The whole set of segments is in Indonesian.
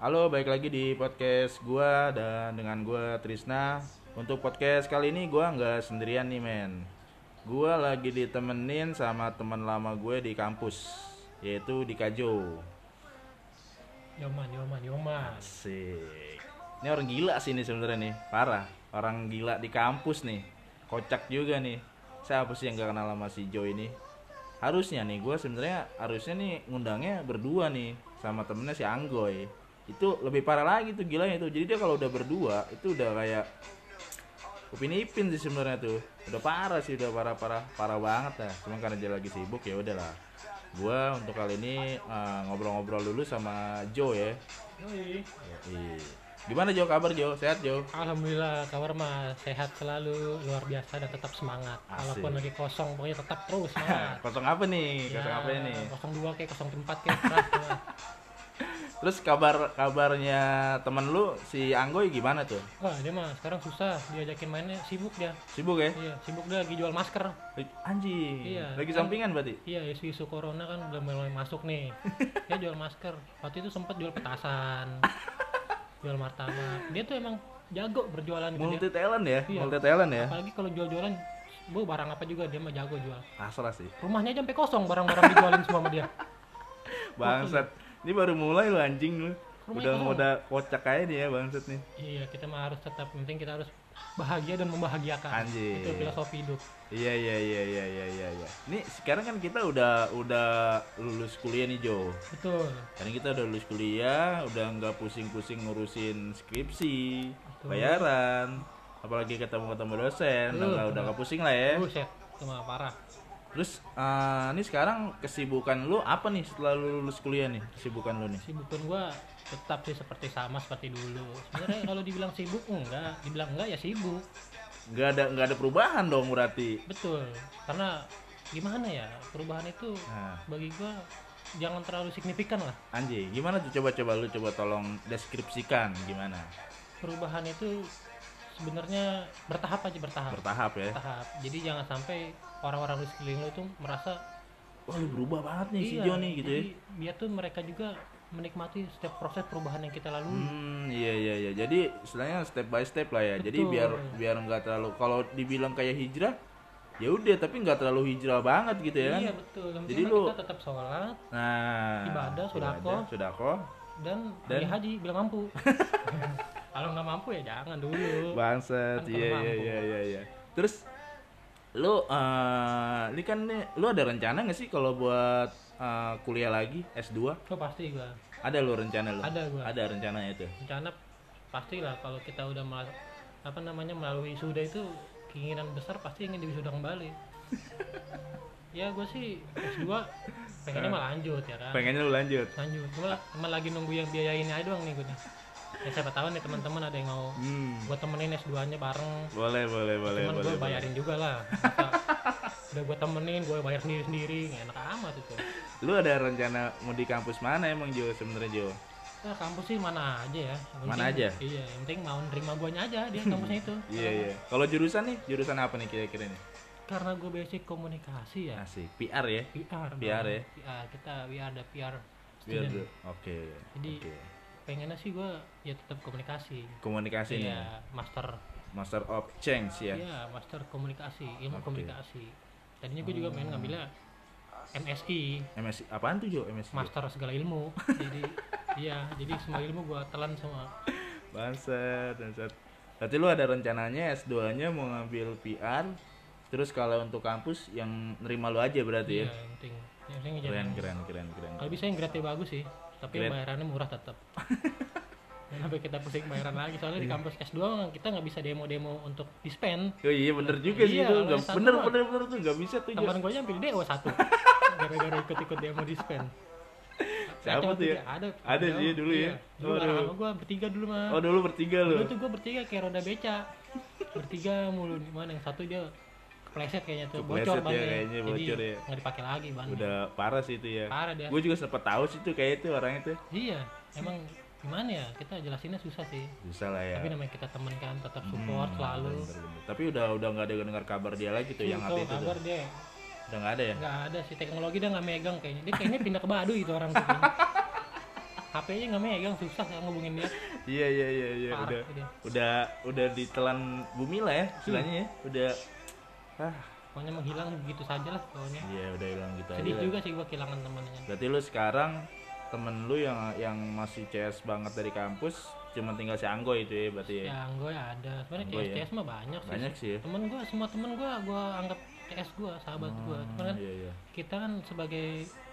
Halo, balik lagi di podcast gua dan dengan gua Trisna. Untuk podcast kali ini gua nggak sendirian nih, men. Gua lagi ditemenin sama teman lama gue di kampus, yaitu di Kajo. Yoman, Yoman, Yoman. Asik. Ini orang gila sih ini sebenarnya nih, parah. Orang gila di kampus nih. Kocak juga nih. Siapa sih yang gak kenal sama si Joe ini? Harusnya nih gue sebenarnya harusnya nih ngundangnya berdua nih sama temennya si Anggoy. Itu lebih parah lagi tuh gilanya tuh. Jadi dia kalau udah berdua itu udah kayak Upin Ipin sih sebenarnya tuh. Udah parah sih, udah parah-parah, parah banget lah. Cuma karena dia lagi sibuk ya udahlah. Gua untuk kali ini eh, ngobrol-ngobrol dulu sama Joe ya. Yoi. Iya. Gimana Jo kabar Jo? Sehat Jo? Alhamdulillah kabar mah sehat selalu luar biasa dan tetap semangat. Asik. Walaupun lagi kosong pokoknya tetap terus semangat. Kosong apa nih? Ya, Kosong apa nih? Kosong dua kayak kosong tempat kayak terah. semua. Terus kabar kabarnya temen lu si Anggoy gimana tuh? Wah dia mah sekarang susah diajakin mainnya sibuk dia. Sibuk ya? Iya sibuk dia lagi jual masker. Anjing. Iya. Lagi sampingan berarti? Iya isu-isu corona kan udah mulai masuk nih. Dia jual masker. Waktu itu sempat jual petasan, jual martabak. Dia tuh emang jago berjualan gitu dia. Multi talent ya? Iya. Multi talent ya? Apalagi kalau jual-jualan, bu barang apa juga dia mah jago jual. Asal sih. rumahnya aja sampai kosong barang-barang dijualin semua sama dia Bangsat. Ini baru mulai lu anjing lu. Rumah Udah kosong. udah kocak aja nih ya bangsat nih. iya kita mah harus tetap yang penting kita harus bahagia dan membahagiakan Anjing. itu filosofi hidup Iya iya iya iya iya iya iya. Ini sekarang kan kita udah udah lulus kuliah nih Jo. betul Karena kita udah lulus kuliah, udah nggak pusing-pusing ngurusin skripsi, Betul. bayaran, apalagi ketemu-ketemu dosen, udah Betul, nggak udah betul. nggak pusing lah ya. buset itu mah parah Terus eh, ini sekarang kesibukan lu apa nih setelah lu lulus kuliah nih? Kesibukan lu nih? sibukan gua tetap sih seperti sama seperti dulu sebenarnya kalau dibilang sibuk enggak dibilang enggak ya sibuk Nggak ada nggak ada perubahan dong berarti. betul karena gimana ya perubahan itu Nah, bagi gua jangan terlalu signifikan lah Anji, gimana tuh coba-coba lu coba tolong deskripsikan gimana? perubahan itu sebenarnya bertahap aja bertahap Bertahap ya. tahap. Jadi jangan sampai orang-orang di sekeliling lo tuh merasa Wah lu berubah banget nih si "Iya, Joni gitu ya. jadi Biar tuh mereka juga menikmati setiap proses perubahan yang kita lalui. Hmm, iya iya iya. Jadi istilahnya step by step lah ya. Jadi Betul. biar biar nggak terlalu kalau dibilang kayak hijrah, ya udah tapi nggak terlalu hijrah banget gitu ya kan. Iya betul. Yang Jadi penting lu- kita tetap sholat Nah, Ibadah, sodakoh. sudah dan, Dan- pergi haji bila mampu. Kalau nggak mampu ya jangan dulu. Bangsat. Kan Iya pernah iya aku. iya iya iya. Terus lu eh ini kan nih lu ada rencana nggak sih kalau buat eh, kuliah lagi S2? Lo pasti gua Ada lu rencana lu? Ada gua. Ada rencananya itu. rencana pastilah kalau kita udah mel- apa namanya melalui wisuda itu keinginan besar pasti ingin diwisuda kembali. ya gue sih S2 pengennya Nah. mah lanjut ya kan. Pengennya lu lanjut. lanjut gua cuma lagi nunggu yang biayain aja doang nih gue nih ya siapa tahu nih teman-teman ada yang mau Hmm. gue temenin S2 nya bareng Boleh boleh boleh cuman boleh. gue boleh. bayarin juga lah Masa udah gue temenin gue bayar sendiri sendiri enak amat itu Lu ada rencana mau di kampus mana emang Jo sebenarnya Jo? nah kampus sih mana aja ya Yang Mana penting- aja? iya yang penting mau nerima guanya aja dia kampusnya itu Iya iya. Kalau jurusan nih, jurusan apa nih kira-kira nih? karena gue basic komunikasi ya Asik, PR ya. PR PR dong. ya? PR kita we are the PR PR student dulu. Oke. Jadi- oke. pengennya sih gue ya tetap komunikasi komunikasi nih. Iya, master Master of Change ya. Iya, master komunikasi, Oke. ilmu Hmm. komunikasi. Tadinya gue juga main ngambilnya MSI, MSc apaan tuh Jo? MSc. master segala ilmu. jadi iya, jadi semua ilmu gue telan semua. Bangsat, bangsat. Berarti lu ada rencananya S2-nya mau ngambil PR. Terus kalau untuk kampus yang nerima lu aja berarti Iya, ya. yang penting. Yang penting Keren, jangan- keren, keren, keren. Kalau bisa yang grade bagus sih, tapi Grade. bayarannya murah tetap. Jangan sampai kita pusing bayaran lagi soalnya Iya. di kampus S2 kita nggak bisa demo-demo untuk dispen. Oh iya bener juga sih Iya, itu. kalau Nggak- S1 Bener, mah. bener, bener tuh nggak bisa tuh Jo. Teman gue aja hampir DO satu gara-gara ikut-ikut demo dispen. Siapa Kacau tuh ya? juga, Ada, Ada sih dulu ya. Iya, Dulu Waduh. sama gue bertiga dulu mah. Oh dulu bertiga Dulu lu. tuh gue bertiga kayak roda beca. Bertiga mulu nih. mana yang satu dia kepleset kayaknya tuh Kepleset bocor ya, banget. kayaknya bocor ya. Nggak dipakai lagi ban. Udah parah sih itu ya. Parah dia. Gue juga sempet tahu sih tuh kayak itu orangnya tuh. Iya, emang gimana ya? Kita jelasinnya susah sih. Bisa lah ya. Hmm, Tapi namanya kita temen kan tetap support selalu. Bener-bener. Tapi udah udah nggak ada dengar kabar dia lagi tuh yang Tuh, waktu itu tuh. kabar dia Udah nggak ada ya. nggak ada sih teknologi dia nggak megang kayaknya. Dia kayaknya pindah ke Baduy itu orang tuh. kayaknya. HP aja nggak megang susah saya ngubungin dia iya iya iya iya Parah udah gitu. udah udah ditelan bumi lah ya istilahnya ya udah ah pokoknya menghilang begitu saja lah pokoknya iya udah hilang gitu aja sedih lah. juga sih gua kehilangan temannya berarti lu sekarang temen lu yang yang masih CS banget dari kampus cuma tinggal si Anggoy itu ya berarti ya yang gue ada sebenarnya Gua CS ya. CS mah banyak sih banyak sih ya temen gue semua temen gue gue anggap TS gue sahabat gue cuman kan iya iya kita kan sebagai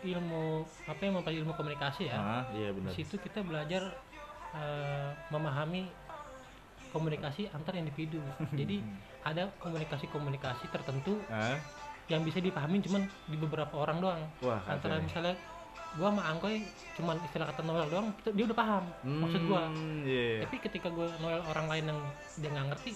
ilmu apa yang mempelajari ilmu komunikasi ya ah iya benar di situ kita belajar eh, memahami komunikasi antar individu jadi ada komunikasi-komunikasi tertentu ah yang bisa dipahami cuman di beberapa orang doang wah kacau antara nih. misalnya gua sama Angkoy cuman istilah kata Noel doang itu dia udah paham maksud gua Eh, Hmm, iya iya. tapi ketika gua Noel orang lain yang dia nggak ngerti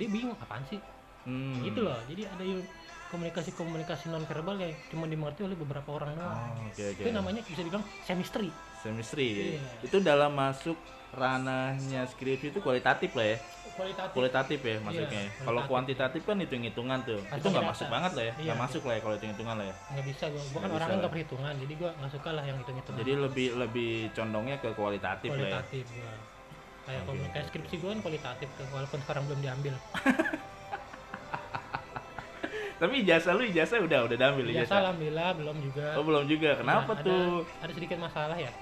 dia bingung apaan sih Hmm. gitu loh jadi ada il- komunikasi-komunikasi nonverbal yang cuma dimengerti oleh beberapa orang doang Oh, oke oke itu namanya bisa dibilang semistri semistri ya. Iya. itu dalam masuk ranahnya skripsi itu kualitatif lah ya kualitatif kualitatif ya masuknya Iya, kualitatif. kalau kuantitatif kan hitung hitungan tuh itu Atau nggak data. masuk banget lah ya nggak Iya. masuk lah ya kalau hitung hitungan lah ya nggak bisa gua gua kan Nggak orangnya bisa. nggak perhitungan jadi gua nggak suka lah yang hitung itu jadi lebih lebih condongnya ke kualitatif, lah ya kualitatif gua kayak Oke, komunikasi oke, skripsi gua kan kualitatif tuh walaupun sekarang belum diambil tapi ijazah lu ijazah udah udah diambil biasa ijazah alhamdulillah belum juga oh belum juga kenapa Nah, ada- tuh Ada, sedikit masalah ya.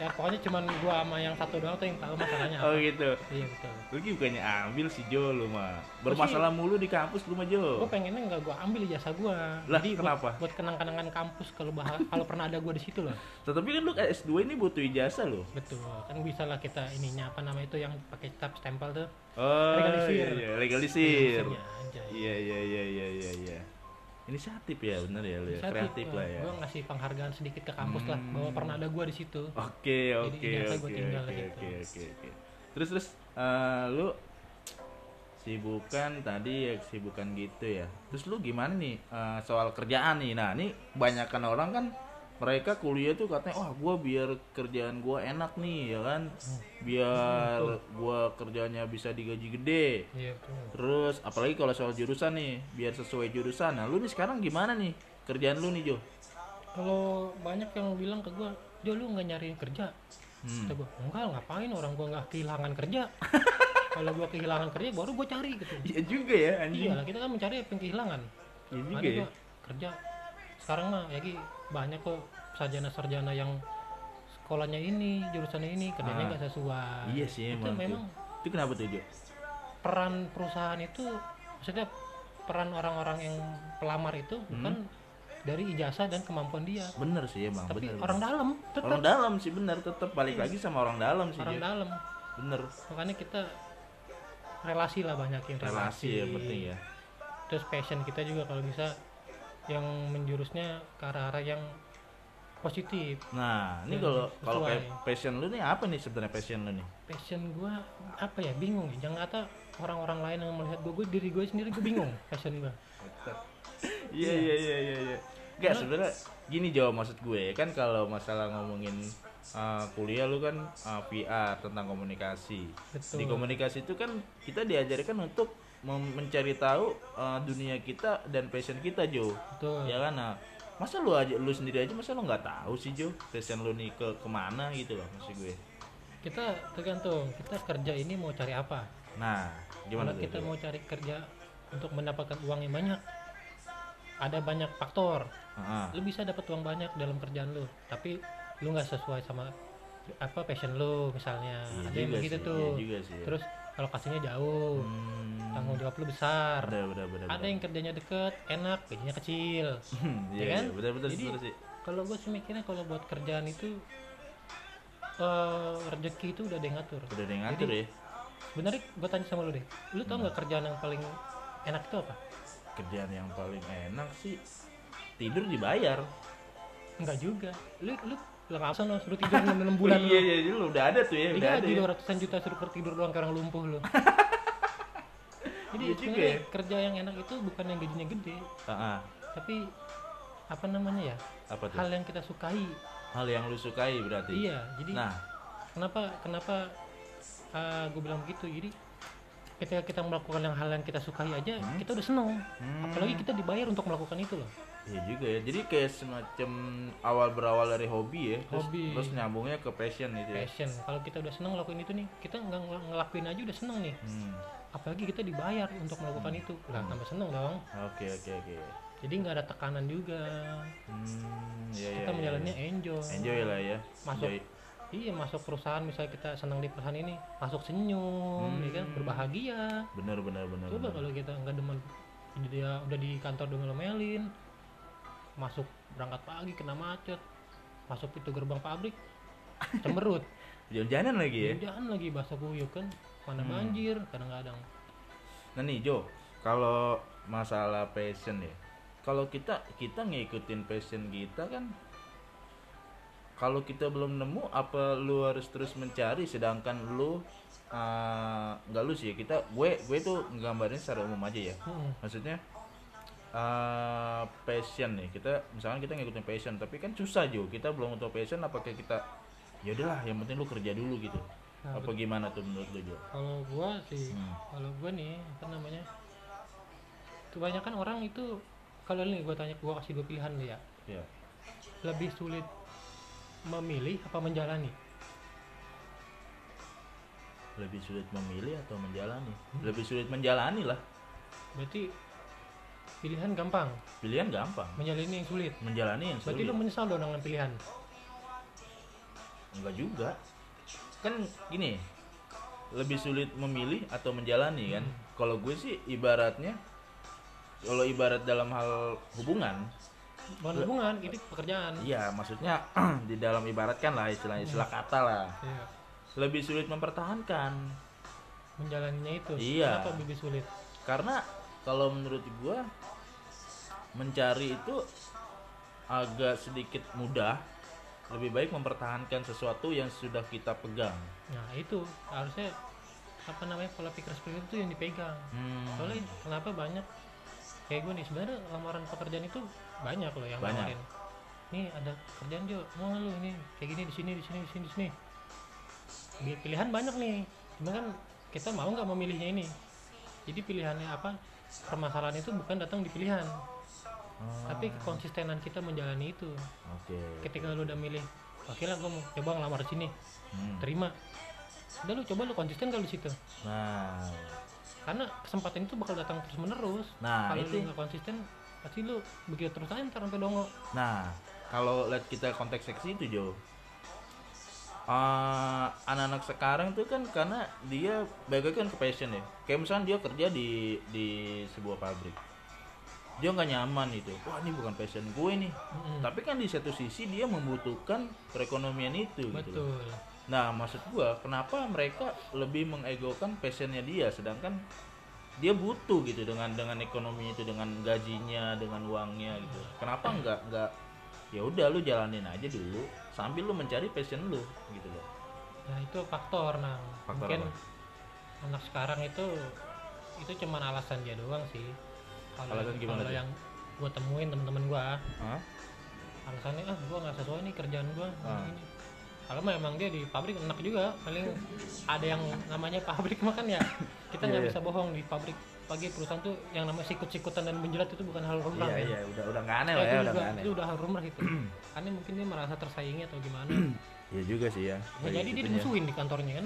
ya pokoknya cuman gua sama yang satu doang tuh yang tahu masalahnya apa. oh gitu Iya betul. lu ki bukannya ambil si Jo lu mah bermasalah mulu di kampus lu mah Jo Gua pengennya nggak gua ambil jasa gua. Lah, Jadi buat- kenapa? Buat, kenang-kenangan kampus kalau bah- kalau pernah ada gua di situ loh. tetapi kan lu S2 ini butuh ijazah lo Betul. Kan bisa lah kita ininya apa nama itu yang pakai cap stempel tuh. oh Legalisir. iya, legalisir Maksudnya aja. iya iya iya iya iya iya inisiatif ya bener ya lu ya Inisiatif, kreatif eh, lah ya Gua ngasih penghargaan sedikit ke kampus lah Hmm. Oh. bahwa pernah ada gua di situ. Oke oke ijazah gua oke tinggal oke gitu. oke oke oke. Terus terus eh, lu sibukan tadi ya sibukan gitu ya. Terus lu gimana nih eh, soal kerjaan nih? Nah ini kebanyakan orang kan mereka kuliah tuh katanya wah gua biar kerjaan gua enak nih ya kan, Hmm. biar gua kerjanya bisa digaji gede. Iya betul. Terus apalagi kalau soal jurusan nih, biar sesuai jurusan. Nah lu nih sekarang gimana nih kerjaan lu nih Jo? Kalau banyak yang bilang ke gua, "Dia lu nggak nyari kerja?" Hmm. Kata gue, enggak ngapain orang gue nggak kehilangan kerja. Kalau gue kehilangan kerja baru gue cari gitu. Iya juga ya anjing. Iya lah kita kan mencari apa yang kehilangan. Iya juga Ada ya. gua kerja. Sekarang mah ya Ki, banyak kok sarjana-sarjana yang sekolahnya ini, jurusannya ini, kerjanya Ah. nggak sesuai. Iya sih Itu emang. tuh. memang Itu kenapa tuh Jo? peran perusahaan itu maksudnya peran orang-orang yang pelamar itu Hmm. bukan dari ijazah dan kemampuan dia, Bener sih emang. tapi bener, orang bener. dalam Iya. Orang tetap dalam iya. sih bener tetap balik lagi sama orang dalam sih orang Jo. dalam. Bener. makanya kita relasi lah banyakin Relasi ya penting ya. terus passion kita juga kalau bisa yang menjurusnya ke arah-arah yang positif Nah ini Ya, kalau sesuai. kalau kayak passion lu nih apa nih sebenarnya passion lu nih? passion gua apa ya bingung ya jangan kata orang-orang lain yang melihat gue gue diri gue sendiri gue bingung passion gua Iya iya iya iya. iya. Gak Nah. sebenarnya gini Jo maksud gue kan kalau masalah ngomongin uh, kuliah lu kan uh, PR tentang komunikasi. Betul. Di komunikasi itu kan kita diajarkan untuk mem- mencari tahu uh, dunia kita dan passion kita Jo. betul ya kan nah masa lu aja lu sendiri aja masa lu nggak tahu sih Jo passion lu nih ke kemana gitu loh maksud gue kita tergantung kita kerja ini mau cari apa nah gimana kalau tuh kita Jo? mau cari kerja untuk mendapatkan uang yang banyak ada banyak faktor Ah, ah. lu bisa dapat uang banyak dalam kerjaan lu tapi lu nggak sesuai sama apa passion lu misalnya Iya ada yang juga begitu sih, tuh iya juga sih ya. terus alokasinya jauh Hmm, tanggung jawab lu besar bener, bener, bener, ada bener. yang kerjanya deket enak gajinya kecil Hmm, iya ya kan? iya, bener bener Jadi- bener sih kalau gue sih mikirnya kalau buat kerjaan itu eh rezeki itu udah ada yang ngatur udah ada yang ngatur ya sebenarnya gue tanya sama lu deh lu Hmm. tau nggak kerjaan yang paling enak itu apa kerjaan yang paling enak sih tidur dibayar enggak juga lu lu lu ngapain lu suruh tidur 6 bulan lu Iya, iya iya jadi lu udah ada tuh ya udah ada Digaji ya. dua ratusan juta suruh tertidur doang karena lumpuh lo. Jadi Iya juga sebenarnya ya. kerja yang enak itu bukan yang gajinya gede, Ah, ah. tapi apa namanya ya apa tuh hal yang kita sukai. hal yang lu sukai berarti Iya, jadi nah kenapa kenapa gue bilang begitu? Jadi ketika kita melakukan yang hal yang kita sukai aja, kita udah seneng. hmm, Apalagi kita dibayar untuk melakukan itu loh. Iya juga ya. Jadi kayak semacam awal berawal dari hobi ya. Terus, Hobi. terus nyambungnya ke passion gitu ya. passion kalau kita udah seneng lakuin itu nih kita nggak ngel- ngelakuin aja udah seneng nih Hmm. apalagi kita dibayar untuk melakukan itu udah tambah seneng dong Oke oke oke. jadi nggak ada tekanan juga Hmm, iya, iya, kita iya. menjalannya enjoy enjoy lah ya. Masuk. Enjoy. iya masuk perusahaan misalnya kita senang di perusahaan ini masuk senyum ya kan Hmm. berbahagia Bener bener bener. coba bener. kalau kita nggak demen dia udah di kantor dengan melin masuk berangkat pagi kena macet masuk pintu gerbang pabrik cemerut Jalan-jalan lagi ya. hujan lagi bahasa guyup kan mana Hmm. banjir kadang-kadang Nah nih Jo, kalau masalah passion ya, kalau kita kita ngikutin passion kita kan, kalau kita belum nemu apa lu harus terus mencari, sedangkan lu eh, nggak lu sih ya, kita gue gue tuh nggambarin secara umum aja ya, Mm-mm. maksudnya eh, passion nih kita misalkan kita ngikutin passion tapi kan susah Jo kita belum tahu passion apakah kita ya udahlah yang penting lu kerja dulu gitu Nah, apa gimana tuh menurut lu Jo? kalau gua sih Hmm. kalau gua nih apa namanya kebanyakan orang itu kalau nih gua tanya gua kasih dua pilihan deh ya Ya. lebih sulit memilih apa menjalani lebih sulit memilih atau menjalani lebih sulit menjalani lah berarti pilihan gampang pilihan gampang menjalani yang sulit menjalani yang berarti sulit lu menyesal dong dengan pilihan enggak juga kan gini lebih sulit memilih atau menjalani kan Hmm. kalau gue sih ibaratnya kalau ibarat dalam hal hubungan bukan hubungan itu pekerjaan iya maksudnya di dalam ibaratkan lah istilah istilah kata lah Iya. lebih sulit mempertahankan menjalaninya itu Iya. kenapa lebih sulit karena kalau menurut gua mencari itu agak sedikit mudah lebih baik mempertahankan sesuatu yang sudah kita pegang nah itu harusnya apa namanya pola pikir seperti itu yang dipegang hmm. soalnya kenapa banyak kayak gue nih sebenarnya lamaran pekerjaan itu banyak loh yang Banyak. nawarin nih ada kerjaan Jo mau nggak lu ini kayak gini di sini di sini di sini di sini Bi- pilihan banyak nih cuma kan kita mau nggak memilihnya ini jadi pilihannya apa permasalahan itu bukan datang di pilihan tapi kekonsistenan kita menjalani itu Oh, oke ketika lu udah milih oke lah gue mau coba ngelamar di sini Hmm. terima udah lu coba lu konsisten kalau di situ nah karena kesempatan itu bakal datang terus menerus nah kalau itu lu nggak konsisten pasti lu begitu terus aja ntar sampai dongo nah kalau lihat kita konteks seksi itu Jo Ah, anak-anak sekarang tuh kan karena dia bagaikan ke passion ya kayak misalnya dia kerja di di sebuah pabrik dia nggak nyaman itu wah ini bukan passion gue nih Mm-mm. tapi kan di satu sisi dia membutuhkan perekonomian itu gitu loh. betul nah maksud gua kenapa mereka lebih mengegokan passionnya dia sedangkan dia butuh gitu dengan dengan ekonomi itu dengan gajinya dengan uangnya gitu kenapa nggak nggak ya udah lu jalanin aja dulu sambil lu mencari passion lu gitu loh nah itu faktor nah Faktor mungkin apa? anak sekarang itu itu cuman alasan dia doang sih kalau Alasan gimana kalau tuh? yang gue temuin temen-temen gue Hah? alasannya ah gue nggak sesuai nih kerjaan gue Ah. ini kalau memang dia di pabrik enak juga paling ada yang namanya pabrik makan ya kita nggak Iya, iya. bisa bohong di pabrik pagi perusahaan tuh yang namanya sikut-sikutan dan menjelat itu bukan hal iya lumrah ya. iya udah udah nggak aneh Ya, lah ya itu, udah juga, nggak aneh itu udah hal lumrah gitu karena mungkin dia merasa tersaingi atau gimana ya juga sih ya ya, jadi dia Gitunya. dimusuhin di kantornya kan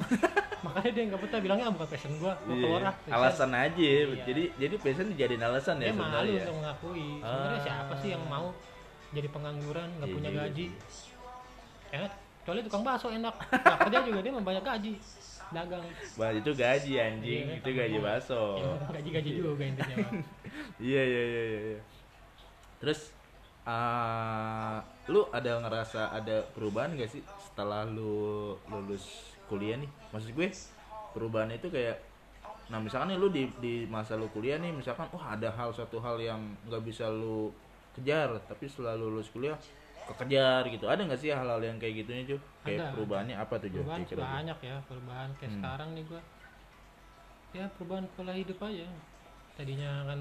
makanya dia nggak betah bilangnya ah, bukan passion gua gua Iya, keluar ah passion." alasan aja Iya. jadi jadi passion dijadiin alasan dia ya malu sebenarnya ya. untuk mengakui sebenarnya Ah. siapa sih yang mau jadi pengangguran nggak Iya punya juga gaji sih. enak kecuali tukang bakso enak nah, kerja juga dia mau banyak gaji dagang Wah itu gaji anjing, itu Iya, tambah gaji dua. baso. gaji gaji juga intinya Bang. Oh. Iya iya iya iya. iya. Terus eh, lu ada ngerasa ada perubahan gak sih setelah lu lulus kuliah nih? Maksud gue perubahan itu kayak nah misalkan nih lu di di masa lu kuliah nih misalkan wah ada hal satu hal yang nggak bisa lu kejar tapi setelah lu lulus kuliah kekejar gitu ada nggak sih hal-hal yang kayak gitunya cuy kayak Ada. perubahannya apa tuh Jo? perubahan sih Kira-kira, Jo? banyak ya perubahan kayak gitu. Hmm. sekarang nih gua ya perubahan pola hidup aja tadinya kan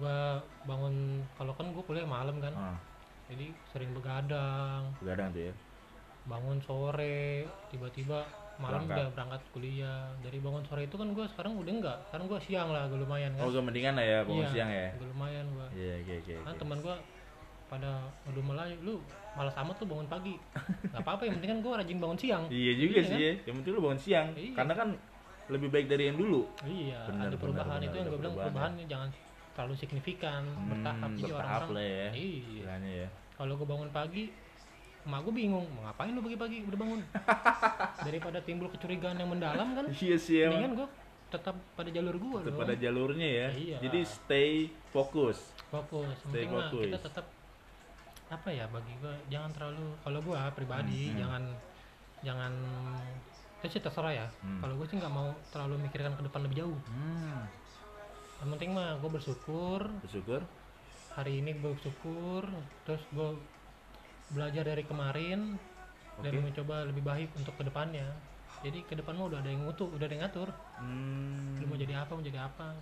gua bangun kalau kan gua kuliah malam kan Ah, jadi sering begadang begadang tuh ya bangun sore tiba-tiba malam Berangkat. udah berangkat kuliah dari bangun sore itu kan gue sekarang udah enggak sekarang gue siang lah gue lumayan kan Oh, gue mendingan lah ya bangun Iya, siang ya. gue lumayan gue Iya, oke oke. kan oke. teman gue pada aduh melayu lu malas amat tuh bangun pagi nggak apa-apa yang penting kan gue rajin bangun siang Iya juga Iya sih kan? ya. Yang penting lu bangun siang. Iya. Karena kan lebih baik dari yang dulu. iya Benar, ada benar, perubahan benar, itu yang ada gue bilang perubahan ya. perubahannya jangan terlalu signifikan Hmm, bertahap Iya, bertahap lah ya. iya Istilahnya ya. kalau gue bangun pagi emak gue bingung mau ngapain lu pagi-pagi udah bangun daripada timbul kecurigaan yang mendalam kan Iya sih ya. mendingan gue tetap pada jalur gue Tetap dong pada jalurnya ya. Iya. Jadi stay fokus. fokus Stay penting mah fokus. kita tetap apa ya bagi gue jangan terlalu kalau gue pribadi Hmm, hmm. jangan jangan itu sih terserah ya Hmm. kalau gue sih nggak mau terlalu mikirkan ke depan lebih jauh Hmm. yang penting mah gue bersyukur Bersyukur. hari ini gue bersyukur terus gue belajar dari kemarin dan Oke. mencoba lebih baik untuk kedepannya jadi ke depan mah udah ada yang ngutu udah ada yang ngatur Hmm. lu mau jadi apa mau jadi apa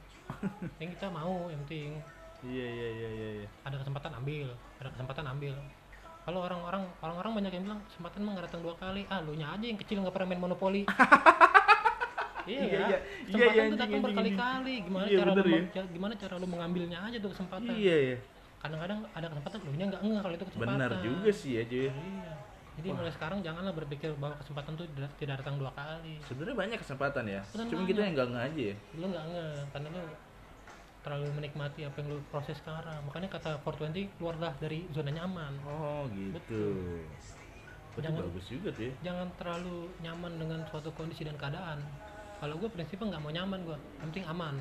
yang kita mau yang penting Iya iya iya iya. iya. ada kesempatan ambil ada kesempatan ambil kalau orang-orang orang-orang banyak yang bilang kesempatan mah nggak datang dua kali ah lu nya aja yang kecil nggak pernah main monopoli Iya, iya iya. ya Iya, iya, kesempatan tuh anjing, datang anjing, berkali-kali gimana Iya, cara lu bener ya. meng- gimana cara lu mengambilnya aja tuh kesempatan Iya ya. kadang-kadang ada kesempatan lu nya nggak enggak kalau itu kesempatan Benar juga sih ya Joy. iya jadi mulai sekarang janganlah berpikir bahwa kesempatan tuh tidak- tidak datang dua kali Sebenarnya banyak kesempatan ya. Kesempatan Cuma banyak. kita yang nggak nggak aja ya. lu nggak nge karena lu terlalu menikmati apa yang lu proses sekarang makanya kata 420 keluarlah dari zona nyaman Oh gitu. Berarti Jangan- bagus juga tuh ya. jangan terlalu nyaman dengan suatu kondisi dan keadaan kalau gue prinsipnya nggak mau nyaman gue yang penting aman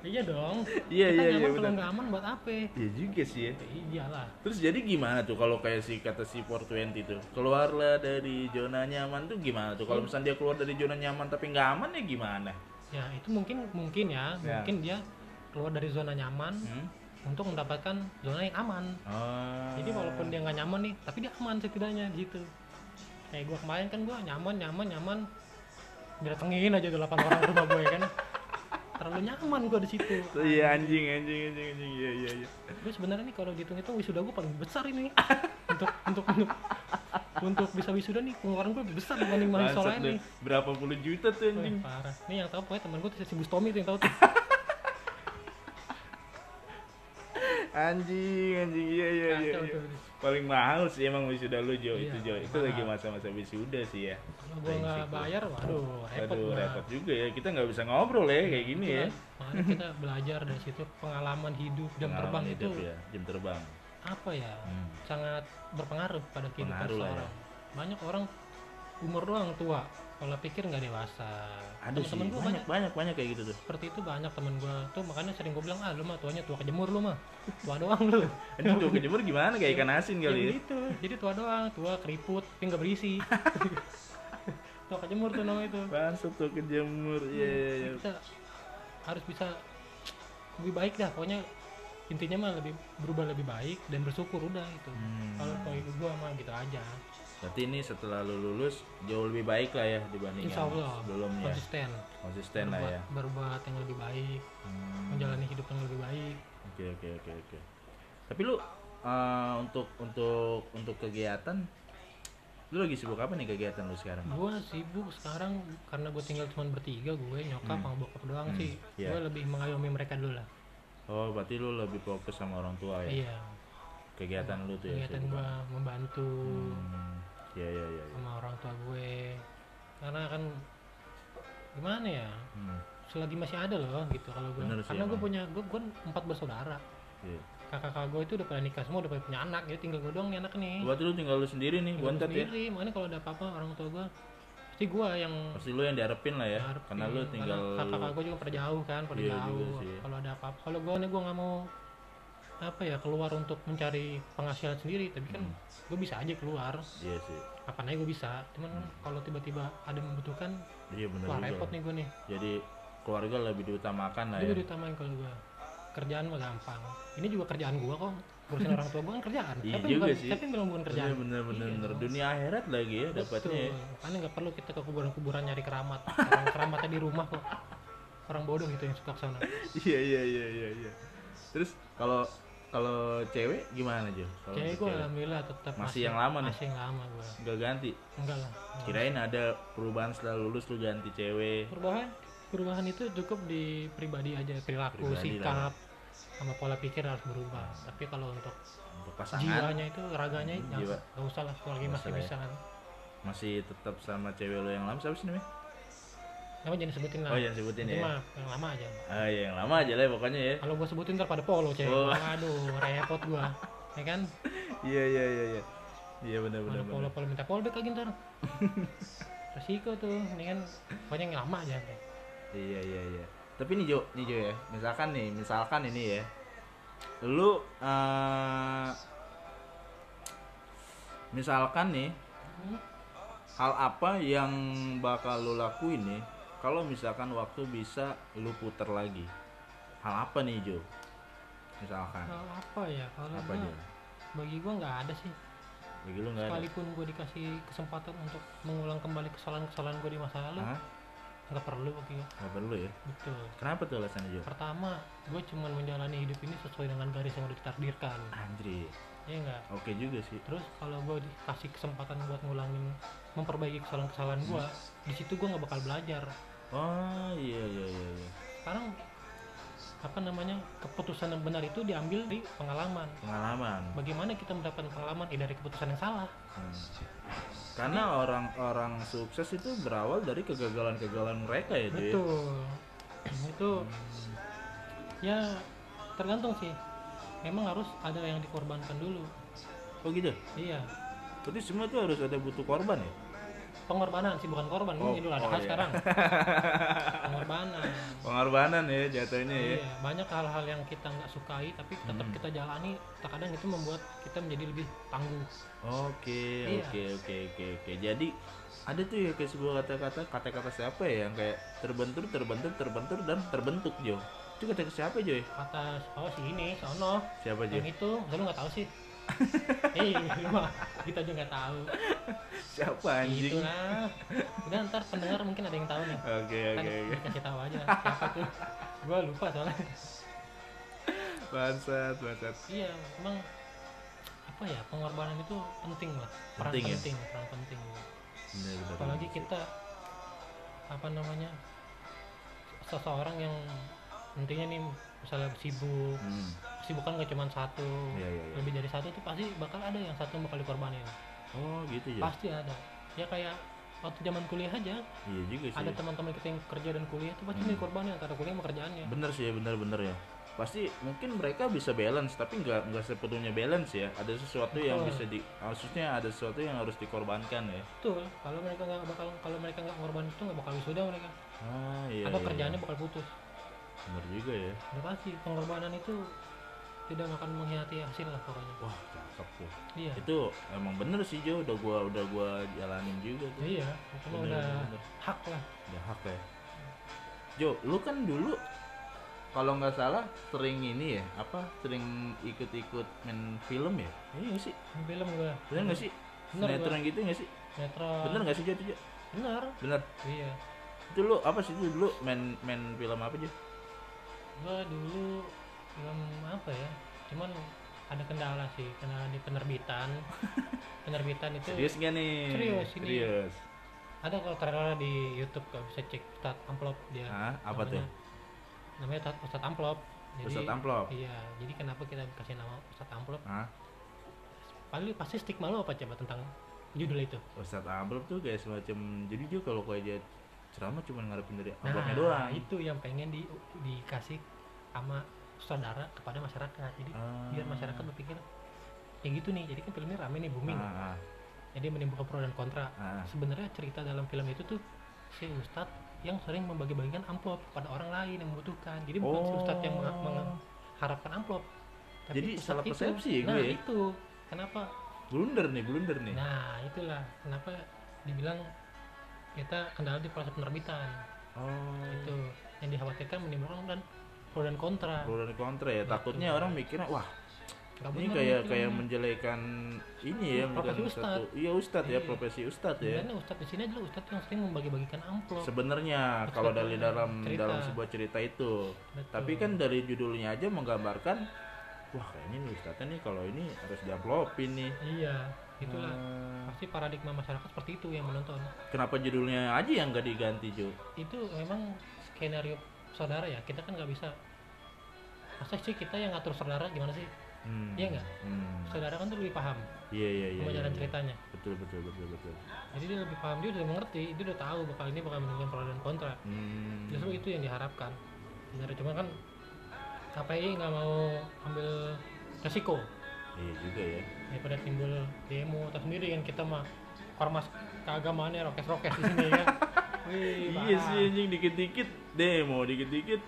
iya dong Iya, kita iya, iya, nyaman kalau benar. nggak aman buat apa Iya juga sih ya. iyalah Terus jadi gimana tuh kalau kayak si kata si 420 tuh keluarlah dari zona nyaman tuh gimana tuh kalau misalnya dia keluar dari zona nyaman tapi nggak aman ya gimana? ya itu mungkin mungkin ya Ya. mungkin dia keluar dari zona nyaman Hmm? untuk mendapatkan zona yang aman Ah. jadi walaupun dia nggak nyaman nih tapi dia aman setidaknya gitu kayak gue kemarin kan gue nyaman nyaman nyaman didatengin aja delapan orang rumah gue kan terlalu nyaman gue di situ Iya anjing anjing anjing anjing iya iya iya. gue sebenarnya nih kalau dihitung hitung wisuda gue paling besar ini untuk untuk untuk, untuk bisa wisuda nih pengeluaran gue lebih besar dibanding mahasiswa Bangsat lain lu. nih Berapa puluh juta tuh Wah, anjing. parah nih yang tahu pokoknya temen gue tuh si Bustomi tuh yang tahu tuh Anjing anjing iya iya iya. Kacau iya. tuh. Paling mahal sih emang wisuda lu Jo Iya, itu Jo. Itu mahal. lagi masa-masa wisuda sih ya. kalau gue nggak bayar waduh repot Iya. Aduh gua. repot juga ya. Kita nggak bisa ngobrol ya kayak gini ya. Itulah, makanya kita belajar dari situ pengalaman hidup jam terbang Pengalaman itu hidup ya, jam terbang. apa ya Hmm. sangat berpengaruh pada kehidupan Pengaruh lah ya. seorang banyak orang umur doang tua kalau pikir nggak dewasa Ada sih temen-temen gue banyak banyak banyak banyak kayak gitu tuh. seperti itu banyak temen gue tuh makanya sering gue bilang ah lu mah tuanya tua kejemur lu mah tua doang lu Anjing tua kejemur gimana kayak ikan asin ya kali ya? begitu jadi tua doang tua keriput tapi nggak berisi tua kejemur tuh nama itu Bangsat tua kejemur. Iya iya iya. kita harus bisa lebih baik dah pokoknya intinya mah lebih berubah lebih baik dan bersyukur udah itu Hmm. kalau poin gue mah gitu aja Berarti ini setelah lu lulus jauh lebih baik lah ya dibanding insya yang Allah sebelum ya. konsisten Konsisten lah berbuat, ya. berbuat yang lebih baik Hmm. menjalani hidup yang lebih baik Oke oke oke oke. Tapi lu eh, untuk untuk untuk kegiatan lu lagi sibuk apa nih kegiatan lu sekarang? gue sibuk sekarang karena gue tinggal cuma bertiga gue nyokap sama bokap doang Hmm, sih iya. gue lebih mengayomi mereka dulu lah Oh, berarti lu lebih fokus sama orang tua ya. iya Kegiatan lu tuh ya. kegiatan sibuk. gue membantu Hmm. Iya iya iya. iya. sama orang tua gue karena kan gimana ya Hmm. selagi masih ada loh gitu kalau gue Bener sih, karena gue emang. punya gue gue empat bersaudara Iya. kakak-kakak gue itu udah pada nikah semua udah pada punya anak ya tinggal gue doang nih anak nih Berarti lu tinggal lu sendiri nih, Tinggal gue bontot ya. sendiri makanya kalau ada apa-apa orang tua gue pasti gue yang Hmm. Pasti lu yang diharapin lah ya. Ngarep Karena sih, lu tinggal iya. karena kakak gue juga pada jauh kan pada Iya juga jauh sih. kalau ada apa kalau gue nih gue nggak mau apa ya keluar untuk mencari penghasilan sendiri tapi Hmm. kan gue bisa aja keluar Iya sih. kapan aja gue bisa cuman kan kalau tiba-tiba ada yang membutuhkan Iya Hmm. benar wah juga. Nah, repot nih gue nih Jadi keluarga lebih diutamakan lah itu ya. gue ditamain kalau gue kerjaan mah gampang ini juga kerjaan gue kok ngurusin orang tua gue kan kerjaan Iya siapa yang juga bilang- sih. siapa yang bilang bukan kerjaan Bener bener bener, Iya bener. dong. dunia akhirat lagi ya dapatnya. ya. Betul. Makanya nggak perlu kita ke kuburan-kuburan nyari keramat. Orang keramatnya di rumah kok. gitu Orang bodoh itu yang suka ke sana. Iya iya iya iya iya. Terus kalau Kalau cewek gimana Jo? Kalau Cewek untuk gue alhamdulillah tetap Masih yang lama nih? Masih yang lama gue. Nggak ganti. Enggak lah. Kirain ada perubahan setelah lulus lu ganti cewek. Perubahan perubahan itu cukup di pribadi aja perilaku Pribadi lah. ya. sikap sama pola pikir harus berubah. Tapi kalau untuk Untuk pasangan jiwanya itu raganya Hmm, nggak jiwa. nggak usah lah apalagi Nggak masih usah lah ya. bisa kan. masih tetap sama cewek lu yang lama siapa sih namanya? Emang jangan sebutin lah. Oh, jangan sebutin Ini ya. mah yang lama aja. Ah, ya, yang lama aja lah ya, pokoknya ya. Kalau gue sebutin ntar pada polo cewek. Oh. Aduh repot gue. Ya kan? Iya, iya, iya, iya. Iya benar benar. Mana polo benar. polo minta polbek lagi ntar. Resiko tuh. Ini kan pokoknya yang lama aja. Iya, iya, iya. Tapi nih Jo, nih Jo ya. Misalkan nih, misalkan ini ya. Lu eh misalkan nih Hmm. hal apa yang bakal lu lakuin nih kalau misalkan waktu bisa lu puter lagi hal apa nih Jo misalkan Kalau apa ya? Kalau Ah. apa gua- aja bagi gue nggak ada sih bagi lu nggak ada sekalipun gue dikasih kesempatan untuk mengulang kembali kesalahan-kesalahan gue di masa lalu Hah? nggak perlu bagi gue nggak perlu ya betul kenapa tuh alasannya Jo pertama gue cuman menjalani hidup ini sesuai dengan garis yang udah ditakdirkan Andri ya enggak oke juga sih terus kalau gue dikasih kesempatan buat ngulangin memperbaiki kesalahan-kesalahan gue di situ gue nggak bakal belajar oh iya iya iya, iya. sekarang apa namanya keputusan yang benar itu diambil di pengalaman pengalaman bagaimana kita mendapatkan pengalaman eh, dari keputusan yang salah Hmm. karena orang-orang sukses itu berawal dari kegagalan-kegagalan mereka ya Jo ya? Betul. itu ya tergantung sih. Memang harus ada yang dikorbankan dulu. oh gitu Iya. berarti semua itu harus ada butuh korban ya Pengorbanan sih bukan korban. Oh, Ini Idul Adha oh, iya. sekarang. Pengorbanan. pengorbanan ya jatuhnya ya Iya, banyak hal-hal yang kita nggak sukai tapi tetap Hmm. kita jalani. Terkadang itu membuat kita menjadi lebih tangguh. Oke, Iya. oke, oke, oke, oke. Jadi ada tuh ya kayak sebuah kata-kata, kata-kata siapa ya yang kayak terbentur, terbentur, terbentur dan terbentuk Jo. Itu kata siapa Jo? ya? Kata oh si ini, sono, Siapa Jo? yang itu, lu nggak tahu sih. Eh, lu mah kita juga nggak tahu. Siapa anjing? Gitu lah. Udah ntar pendengar mungkin ada yang tahu nih. Oke, kan oke, oke. dikasih tahu aja siapa tuh gue lupa soalnya Bangsat, bangsat. iya emang apa ya pengorbanan itu penting lah peran Penting penting, ya? peran penting Bener, bener, apalagi bener. kita apa namanya seseorang yang intinya nih misalnya sibuk Hmm. sibukan gak cuma satu Iya, iya, iya. lebih dari satu tuh pasti bakal ada yang satu yang bakal dikorbanin Oh, gitu Jo. pasti ada ya kayak waktu zaman kuliah aja Iya juga sih. ada teman-teman kita yang kerja dan kuliah tuh pasti Hmm. dikorbanin antara kuliah sama kerjaannya Bener sih, ya, bener-bener ya. Pasti mungkin mereka bisa balance, tapi nggak nggak sepenuhnya balance ya. Ada sesuatu yang Betul. bisa di, maksudnya ada sesuatu yang harus dikorbankan ya. Betul, kalau mereka nggak bakal kalau mereka nggak ngorban itu nggak bakal wisuda mereka. Ah, iya. Atau iya, kerjaannya iya. bakal putus. Bener juga ya. Udah pasti pengorbanan itu tidak akan mengkhianati hasil lah pokoknya. Wah, cakep tuh. Iya. Itu emang bener sih Jo, udah gua udah gua jalanin juga tuh. iya, itu mah Bener, udah bener. hak lah. Udah hak ya. Jo, lu kan dulu kalau nggak salah sering ini ya, apa sering ikut-ikut main film ya? Iya nggak sih? Ini Film gua. Bener nggak sih? Bener, Ah. Sinetron gitu nggak sih? Netron. Bener nggak sih Jo? itu, Jo? Bener. Bener. Iya. Itu lu apa sih itu dulu main main film apa Jo? Gua dulu film apa ya? Cuman ada kendala sih, kendala di penerbitan. penerbitan itu Serius nggak nih? Serius, ini. ya. Serius. ada kalau trailer di YouTube kalau bisa cek Ustadz Amplop dia. Hah? Ah, Apa tuh? namanya, Namanya Ustadz- Ustadz Amplop. Jadi, Ustadz Amplop. Iya, jadi kenapa kita kasih nama Ustadz Amplop? Hah? Paling pasti stigma lo apa coba tentang judul itu? Ustadz Ambrop tuh kayak semacam jadi Jo kalau kayak dia ceramah cuma ngarepin dari amplopnya doang. Nah, itu yang pengen di, dikasih sama saudara kepada masyarakat. Jadi Ah. biar masyarakat berpikir ya gitu nih. Jadi kan filmnya rame nih booming. Ah, Jadi menimbulkan pro dan kontra. ah, ah. Sebenarnya cerita dalam film itu tuh si ustadz yang sering membagi-bagikan amplop kepada orang lain yang membutuhkan. Jadi bukan si ustadz yang mengha- mengharapkan amplop. Oh. Jadi ustadz salah itu. persepsi ya Nah, gue ya? itu. Kenapa blunder nih blunder nih Nah, itulah kenapa dibilang kita kendala di proses penerbitan. oh Itu yang dikhawatirkan menimbulkan dan pro dan kontra. pro dan kontra Nah, ya takutnya orang mikirnya wah Nggak ini benar kayak nih kayak filmnya. menjelekan ini ya Profesi bukan ustad. satu iya ustad ya Iya. profesi ustad ya Sebenarnya Ustadz di sini adalah Ustadz yang sering membagi-bagikan amplop. sebenarnya kalau dari Sebenarnya, dalam cerita. Hmm. dalam sebuah cerita itu kan Betul. tapi kan dari judulnya aja menggambarkan wah kayaknya nih ustadznya nih kalau ini harus diaplopin nih iya itulah Eh, pasti paradigma masyarakat seperti itu yang menonton kenapa judulnya aja yang gak diganti Jo itu memang skenario saudara ya kita kan nggak bisa masa sih kita yang ngatur saudara gimana sih Hmm, Iya nggak? hmm. saudara kan tuh lebih paham iya iya iya sama iya, jalan iya. ceritanya betul betul betul betul jadi dia lebih paham dia udah mengerti dia udah tahu bakal ini bakal menimbulkan pro dan kontra Hmm. justru itu yang diharapkan sebenarnya cuma kan KPI nggak mau ambil resiko iya juga ya daripada timbul demo atau sendiri kan kita mah ormas keagamaannya rokes-rokes di sini ya Wih, iya parah. sih anjing dikit-dikit demo dikit-dikit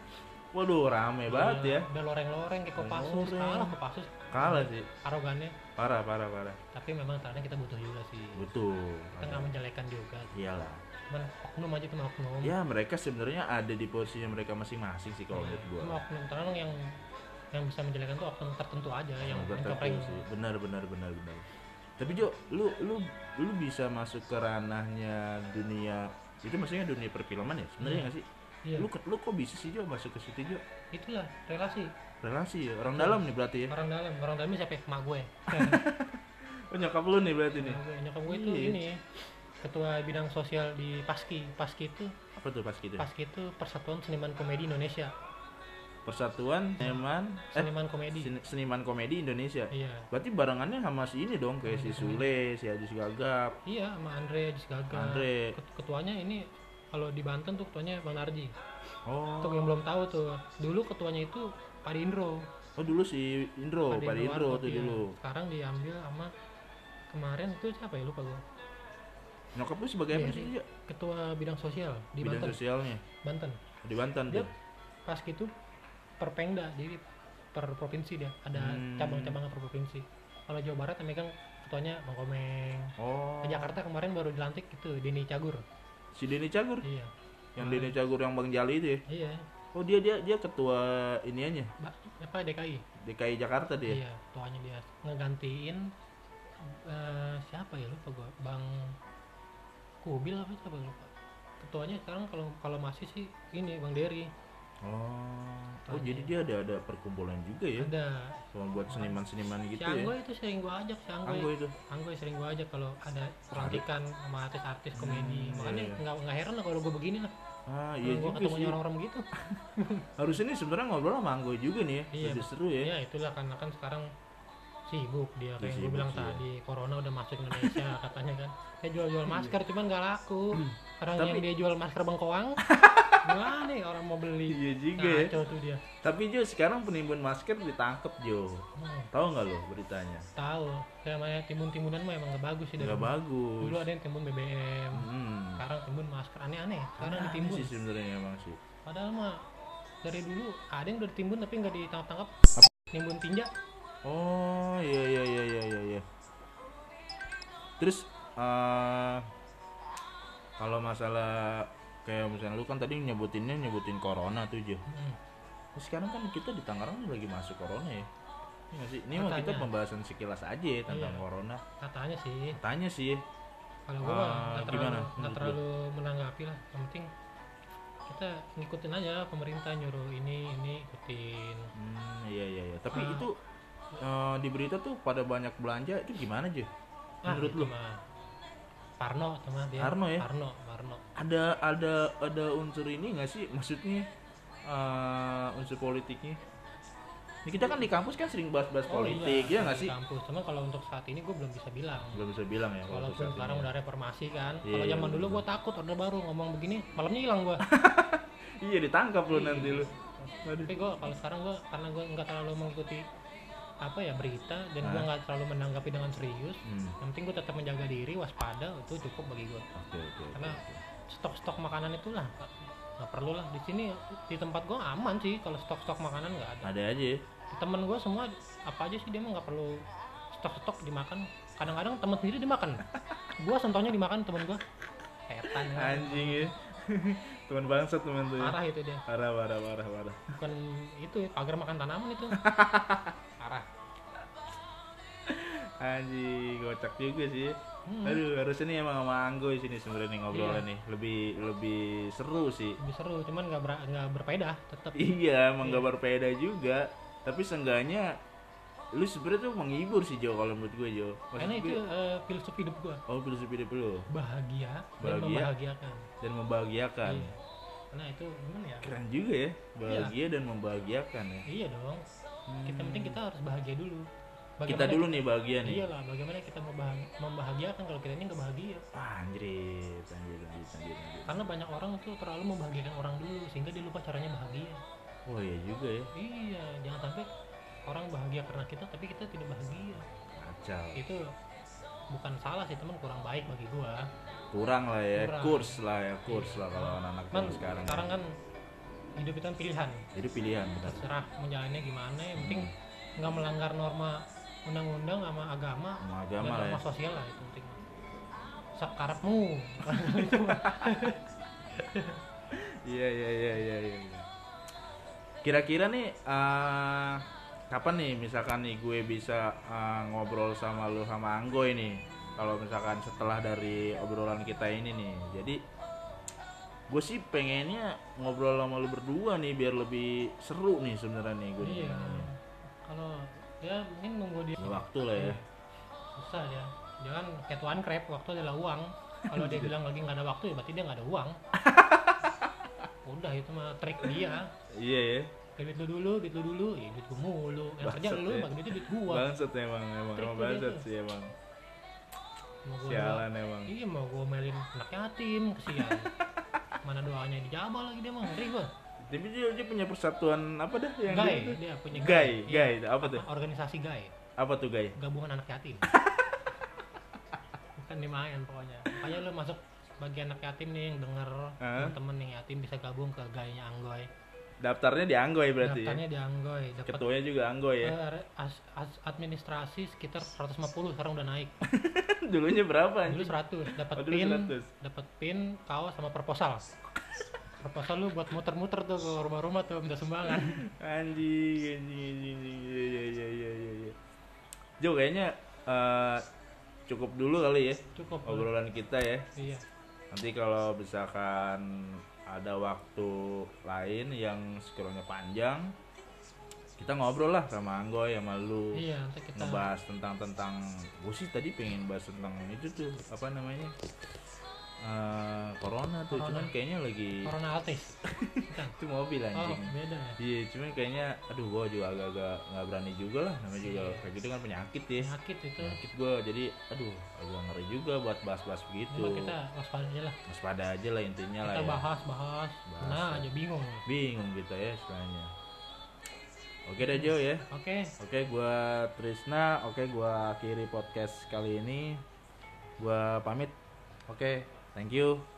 waduh rame banget ya udah loreng-loreng kayak Kopassus Loreng. kalah Kopassus kalah sih arogannya parah parah parah tapi memang terkadang kita butuh juga sih betul kita nggak menjelekan juga iyalah cuman oknum aja cuma oknum ya mereka sebenarnya ada di posisi mereka masing-masing sih kalau menurut gua cuma oknum terkadang yang yang bisa menjelekan tuh oknum tertentu aja yang Menurut yang aku kepreng sih. benar benar benar benar tapi Jo lu lu lu bisa masuk ke ranahnya dunia itu maksudnya dunia perfilman ya sebenarnya nggak sih Iya. lu ke- lu kok bisa sih Jo masuk ke situ Jo itulah relasi relasi ya orang dalam nih berarti ya orang dalam orang dalamnya siapa ya? emak gue oh, nyokap lu nih berarti nih Emak gue. nyokap gue itu Iya. ini ya, ketua bidang sosial di Paski Paski itu apa tuh pas gitu Paski itu Persatuan Seniman Komedi Indonesia persatuan seniman eh seniman komedi sen- seniman komedi Indonesia iya berarti barengannya sama si ini dong kayak si Sule si Ajis Gagap iya sama Andre Jisgaga Andre Ket- ketuanya ini kalau di Banten tuh ketuanya Bang Narji oh untuk yang belum tahu tuh dulu ketuanya itu Pak Indro oh dulu si Indro Pak Pak Indro Indro Warkop, tuh iya. dulu sekarang diambil sama kemarin tuh siapa ya lupa gue nyokap lu sebagai apa Iya, sih iya. Jo? ketua bidang sosial di bidang Banten Iya. sosialnya Oh, Banten di Banten dia tuh pas gitu perpengda jadi per provinsi dia ada Hmm. cabang-cabang per provinsi kalau Jawa Barat yang megang ketuanya Bang Komeng oh Ke Jakarta kemarin baru dilantik itu Dini Cagur si Denny Cagur iya yang Denny Cagur yang Bang Jali itu ya iya oh dia dia dia ketua iniannya Ba- apa DKI DKI Jakarta dia iya tuanya dia ngegantiin eh, siapa ya lupa gua bang kubil apa siapa lupa ketuanya sekarang kalau kalau masih sih ini bang Dery oh oh Tuanya. jadi dia ada ada perkumpulan juga ya ada sama buat seniman-seniman si gitu ya Anggoy itu sering gua ajak si Anggoy Anggo itu Anggoy sering gua ajak kalau ada pelantikan sama artis-artis komedi Hmm, makanya iya. nggak nggak heran lah kalau gua begini lah ah Kalau iya gua juga ketemunya sih orang-orang begitu harusnya ini sebenarnya ngobrol sama Anggo juga nih ya Iya. lebih seru ya ya itulah karena kan sekarang sibuk dia Dia kayak yang gue sibuk bilang sih, ya. tadi corona udah masuk Indonesia katanya kan dia jual-jual masker cuman nggak laku orang yang Iya. Tapi- dia jual masker bengkoang gimana nih orang mau beli Iya juga ya. ngaco tuh dia Tapi Jo sekarang penimbun masker ditangkep Jo. hmm, Tahu nggak lo beritanya? tahu kayak namanya timun-timunan mah emang nggak bagus sih dari Nggak bagus. dulu ada yang timun BBM Hmm. sekarang timun masker aneh-aneh sekarang Aneh ditimbun sih sebenarnya emang sih. padahal mah dari dulu ada yang udah ditimbun tapi nggak ditangkap-tangkap timbun tinja Oh iya iya iya iya iya. iya. Terus eh kalau masalah kayak misalnya lu kan tadi nyebutinnya nyebutin corona tuh Jo. Hmm. Terus sekarang kan kita di Tangerang lagi masuk corona ya. Iya nggak sih? Ini mah kita Katanya. pembahasan sekilas aja ya tentang Iya. corona. katanya sih Tanya sih. ya. kalau gua Ah, nggak gimana terlalu nggak menurut terlalu menanggapi lah yang penting kita ngikutin aja pemerintah nyuruh ini ini ikutin Hmm, iya iya iya. Tapi Ah. itu eh, di berita tuh pada banyak belanja itu gimana aja? Nah, Menurut lu? Ah, mah Parno sama dia Parno ya? Parno Parno Ada ada ada unsur ini nggak sih? Maksudnya eh, unsur politiknya? Ini kita kan di kampus kan sering bahas-bahas politik, ya nggak Oh, iya. sih? di kampus cuma kalau untuk saat ini gue belum bisa bilang Belum bisa bilang ya kalau walaupun untuk saat sekarang ini. udah reformasi kan Iya, kalau iya, zaman bener. dulu gue takut orde baru ngomong begini malamnya hilang gue Iya ditangkap lu nanti lu. Waduh. tapi gue kalau sekarang gue karena gue nggak terlalu mengikuti apa ya berita dan gue Ah. nggak terlalu menanggapi dengan serius Hmm, yang penting gue tetap menjaga diri waspada itu cukup bagi gue oke oke. oke, Karena oke. stok-stok makanan itulah Pak. nggak perlu lah di sini di tempat gue aman sih kalau stok-stok makanan nggak ada Ada aja ya. temen gue semua apa aja sih dia mah nggak perlu stok-stok dimakan kadang-kadang temen sendiri dimakan gue sentohnya dimakan temen gue setan ya. Anjing ya. Teman bangsat teman tuh ya. parah itu dia Parah parah parah parah. bukan itu ya, pagar makan tanaman itu parah Anjing, kocak juga sih. ya. Hmm. Aduh, harusnya nih emang sama Anggo di sini sebenarnya nih ngobrolnya Iya. nih. Lebih lebih seru sih. lebih seru cuman nggak ber- nggak berpeda tetap Iya, emang nggak berbeda juga. Tapi seenggaknya lu sebenarnya tuh menghibur sih Jo kalau menurut gue Jo Maksud karena itu gue- eh, filsuf hidup gua oh filosofi hidup lu bahagia, dan Bahagia. membahagiakan dan membahagiakan Iya. karena itu gimana ya keren juga ya bahagia dan membahagiakan ya iya dong kita penting kita harus bahagia Iya. dulu kita dulu nih bahagia nih iyalah bagaimana kita mau bahag- membahagiakan kalau kita ini nggak bahagia Ah, anjrit anjrit anjrit anjrit, anjrit. karena banyak orang tuh terlalu membahagiakan orang dulu sehingga dia lupa caranya bahagia oh iya juga ya iya jangan sampai orang bahagia karena kita tapi kita tidak bahagia kacau itu bukan salah sih teman kurang baik bagi gua kurang lah ya Kurang. Iya. kurs lah ya kurs lah kalau anak-anak cuman zaman sekarang ya. sekarang, kan hidup itu kan pilihan jadi pilihan benar terserah menjalannya gimana yang penting nggak melanggar norma undang-undang sama agama sama dan agama lah norma ya sosial lah itu penting sekarapmu itu iya iya iya iya iya kira-kira nih eh, kapan nih misalkan nih gue bisa eh, ngobrol sama lu sama Anggoy nih kalau misalkan setelah dari obrolan kita ini nih jadi gue sih pengennya ngobrol sama lu berdua nih biar lebih seru nih sebenarnya nih gue iya kalau ya mungkin nunggu dia waktu lah ya susah ya jangan kayak tuan krep waktu adalah uang kalau Iya. dia bilang lagi nggak ada waktu ya berarti dia nggak ada uang udah itu mah trik dia iya ya kayak duit lu dulu duit lu dulu ya duit gua mulu yang kerja Bangsat lu ya. emang duitnya duit gua bangsat emang emang Trik emang dia bangsat tuh. sih emang mau gua sialan emang Iya mau gue melin anak yatim kesian. Mana doanya dijabah lagi dia mah ngeri gue. tapi dia, dia punya persatuan apa dah yang Gai Iya, dia dia punya Gai, Iya. gai, gitu. apa tuh? Organisasi Gai, Apa tuh gai? gabungan anak yatim. Bukan dimain pokoknya. Makanya lu masuk bagi anak yatim nih yang denger Hah? temen yang yatim bisa gabung ke gainya Anggoy. Daftarnya di Anggoy berarti ya? Daftarnya di Anggoy, dapat Ketuanya juga Anggoy ya? eh, re- as- as- administrasi sekitar 150 sekarang udah naik. Dulunya berapa Eh. Dulu anjing? 100 dapat Oh, dulu pin, 100. dapat pin, kaos sama proposal. Proposal lu buat muter-muter tuh ke rumah-rumah tuh minta sumbangan. Anjing, anjing, anjing, anjing. Iya, iya, iya, iya, iya, iya. Jo, kayaknya eh, cukup dulu kali ya Cukup. Bro. obrolan kita ya. Iya. Nanti kalau misalkan ada waktu lain yang scrollnya panjang, kita ngobrol lah sama Anggoy, sama lu. Iya, nanti kita ngebahas tentang tentang gue sih tadi pengen bahas tentang itu tuh apa namanya Eh, corona tuh Corona. cuman kayaknya lagi Corona altis. Bukan. itu mobil Oh, anjing beda ya. iya cuman kayaknya aduh gue juga agak-agak nggak berani juga lah namanya juga Iya. kayak gitu kan penyakit ya Penyakit iya. itu. penyakit gue jadi aduh agak ngeri juga buat bahas-bahas begitu Cuma kita waspada aja lah. waspada aja lah intinya lah Kita ya bahas, bahas. Bahas, Nah, ya. aja bingung. bingung kita ya istilahnya oke deh Jo ya Oke. Oke, gua Trisna. Oke, gua akhiri podcast kali ini. Gua pamit. Oke, thank you.